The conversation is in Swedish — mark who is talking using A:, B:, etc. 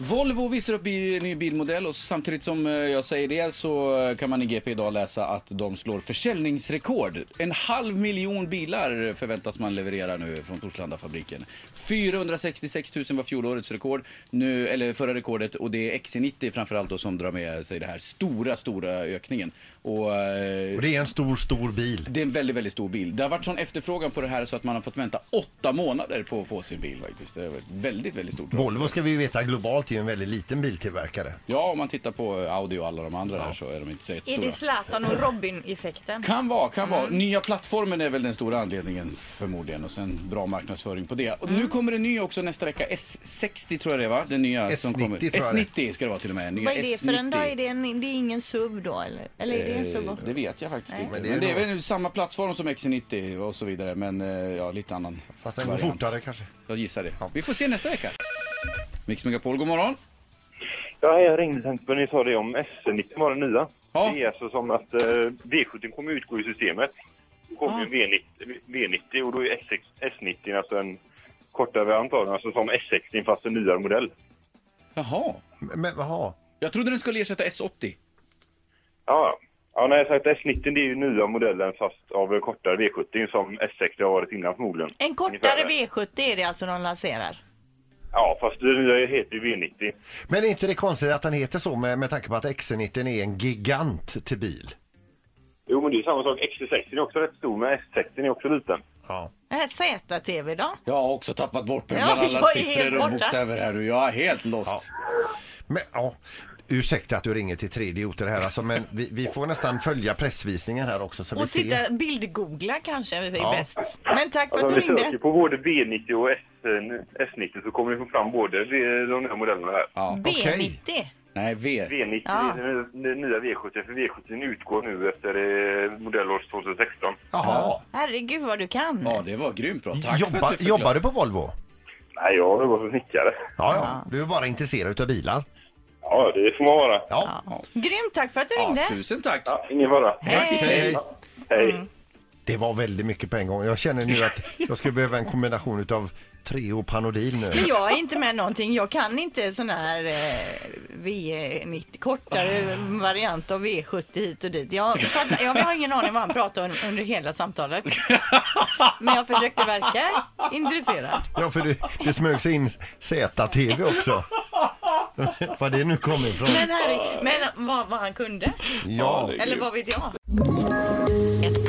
A: Volvo visar upp i ny bilmodell och samtidigt som eh, jag säger det så eh, kan man i GP idag läsa att de slår försäljningsrekord. En halv miljon bilar förväntas man leverera nu från Torslandafabriken. 466 000 var fjolårets rekord, nu, eller förra rekordet och det är XC90 framförallt då som drar med sig den här stora, stora ökningen. Och, eh,
B: Och det är en stor, stor bil.
A: det är en väldigt, väldigt stor bil. Det har varit sån efterfrågan på det här så att man har fått vänta åtta månader på att få sin bil faktiskt. Det är ett väldigt, väldigt stort drag.
B: Volvo ska vi ju veta globalt är ju en väldigt liten biltillverkare.
A: Ja, om man tittar på Audi och alla de andra här så är de inte så
C: Är
A: jättestora.
C: det Mm. Zlatan och Robin-effekten?
A: Kan vara, kan vara. Nya plattformen är väl den stora anledningen förmodligen och sen bra marknadsföring på det. Och
C: Mm.
A: nu kommer en ny också nästa vecka. S60 tror jag det är va? Den nya som
B: S90
A: kommer.
B: tror jag
A: S90 ska det vara till och med. Nya
C: Vad är det för en dag?
A: S90.
C: Är det, en, det är ingen sub då eller? Eller är det en sub
A: Eh,
C: också?
A: Det vet jag faktiskt inte.
B: Men
A: Men
B: det
A: det
B: är
A: är,
B: nog-
A: väl samma plattform som XC90 och så vidare men eh, ja, lite annan
B: Fast den går
A: variant.
B: fortare kanske.
A: Jag gissar det.
B: Ja.
A: Vi får se nästa vecka. Mix Megapol, god morgon.
D: Ja, jag ringde sen för ni sa det om S90 var den nya.
A: Ja.
D: Det är alltså som att eh, V70 kommer utgå i systemet. Då kommer
A: Ja.
D: ju V90, V90 och då är S6, S90 alltså en kortare variant av den, alltså som S60 fast en nyare modell.
A: Jaha.
B: Men, men jaha.
A: Jag trodde den skulle ersätta S80.
D: Ja, ja nej, så att S90 det är ju nya modellen fast av kortare V70 som S60 har varit innan förmodligen.
C: En kortare
D: Ungefär.
C: V70 är det alltså de lanserar?
D: Ja, fast det nya heter ju V90.
B: Men är inte det konstigt att den heter så med, med tanke på att XC90 är en gigant till bil?
D: Jo, men det är samma sak. XC60 är också rätt stor, men S60 är också liten.
B: Ja.
C: Den här ZTV då?
A: Jag har också tappat bort mig
C: Ja,
A: bland alla
C: jag är helt
A: siffror och
C: borta.
A: bokstäver här nu. Jag är helt lost.
B: Men, ja. Ursäkta att du ringer till tre idioter här alltså, men vi, vi får nästan följa pressvisningen här också så vi
C: Och
B: ser.
C: titta, bildgoogla kanske är
B: Ja.
C: bäst. Men tack för
D: Alltså,
C: att
D: om
C: du
D: ni söker
C: ringde.
D: på både V90 och S, eh, S90 så kommer ni få fram både de, de nya modellerna här.
C: B90.
A: Nej, V.
D: V90
C: Ja.
D: är den ny- den nya V70, för V70 utgår nu efter eh, modellår 2016.
B: Jaha.
C: Herregud vad du kan.
A: Ja, det var grymt bra. Tack för
B: Jobbar,
A: att du förklarade.
B: jobbar du på Volvo?
D: Nej, jag jobbar som snickare.
B: Ja, ja. Du är bara intresserad av bilar.
D: Ja, det får man vara.
B: Ja.
C: Grymt, tack för att du
A: Ja,
C: ringde.
A: tusen tack.
D: Ja, ingen fara.
B: Hej.
D: Hej.
C: Mm.
B: Det var väldigt mycket på en gång. Jag känner nu att jag skulle behöva en kombination utav Treo och Panodil nu.
C: Men jag är inte med någonting. Jag kan inte sån här eh, V90, kortare variant av V70 hit och dit. Jag, fattar- jag har ingen aning vad han pratade om under hela samtalet. Men jag försökte verka intresserad.
B: Ja, för det, det smög sig in ZTV också. Var det nu kom ifrån.
C: Men, herre, men vad, vad han kunde,
B: Ja.
C: eller vad vet jag?
E: Ett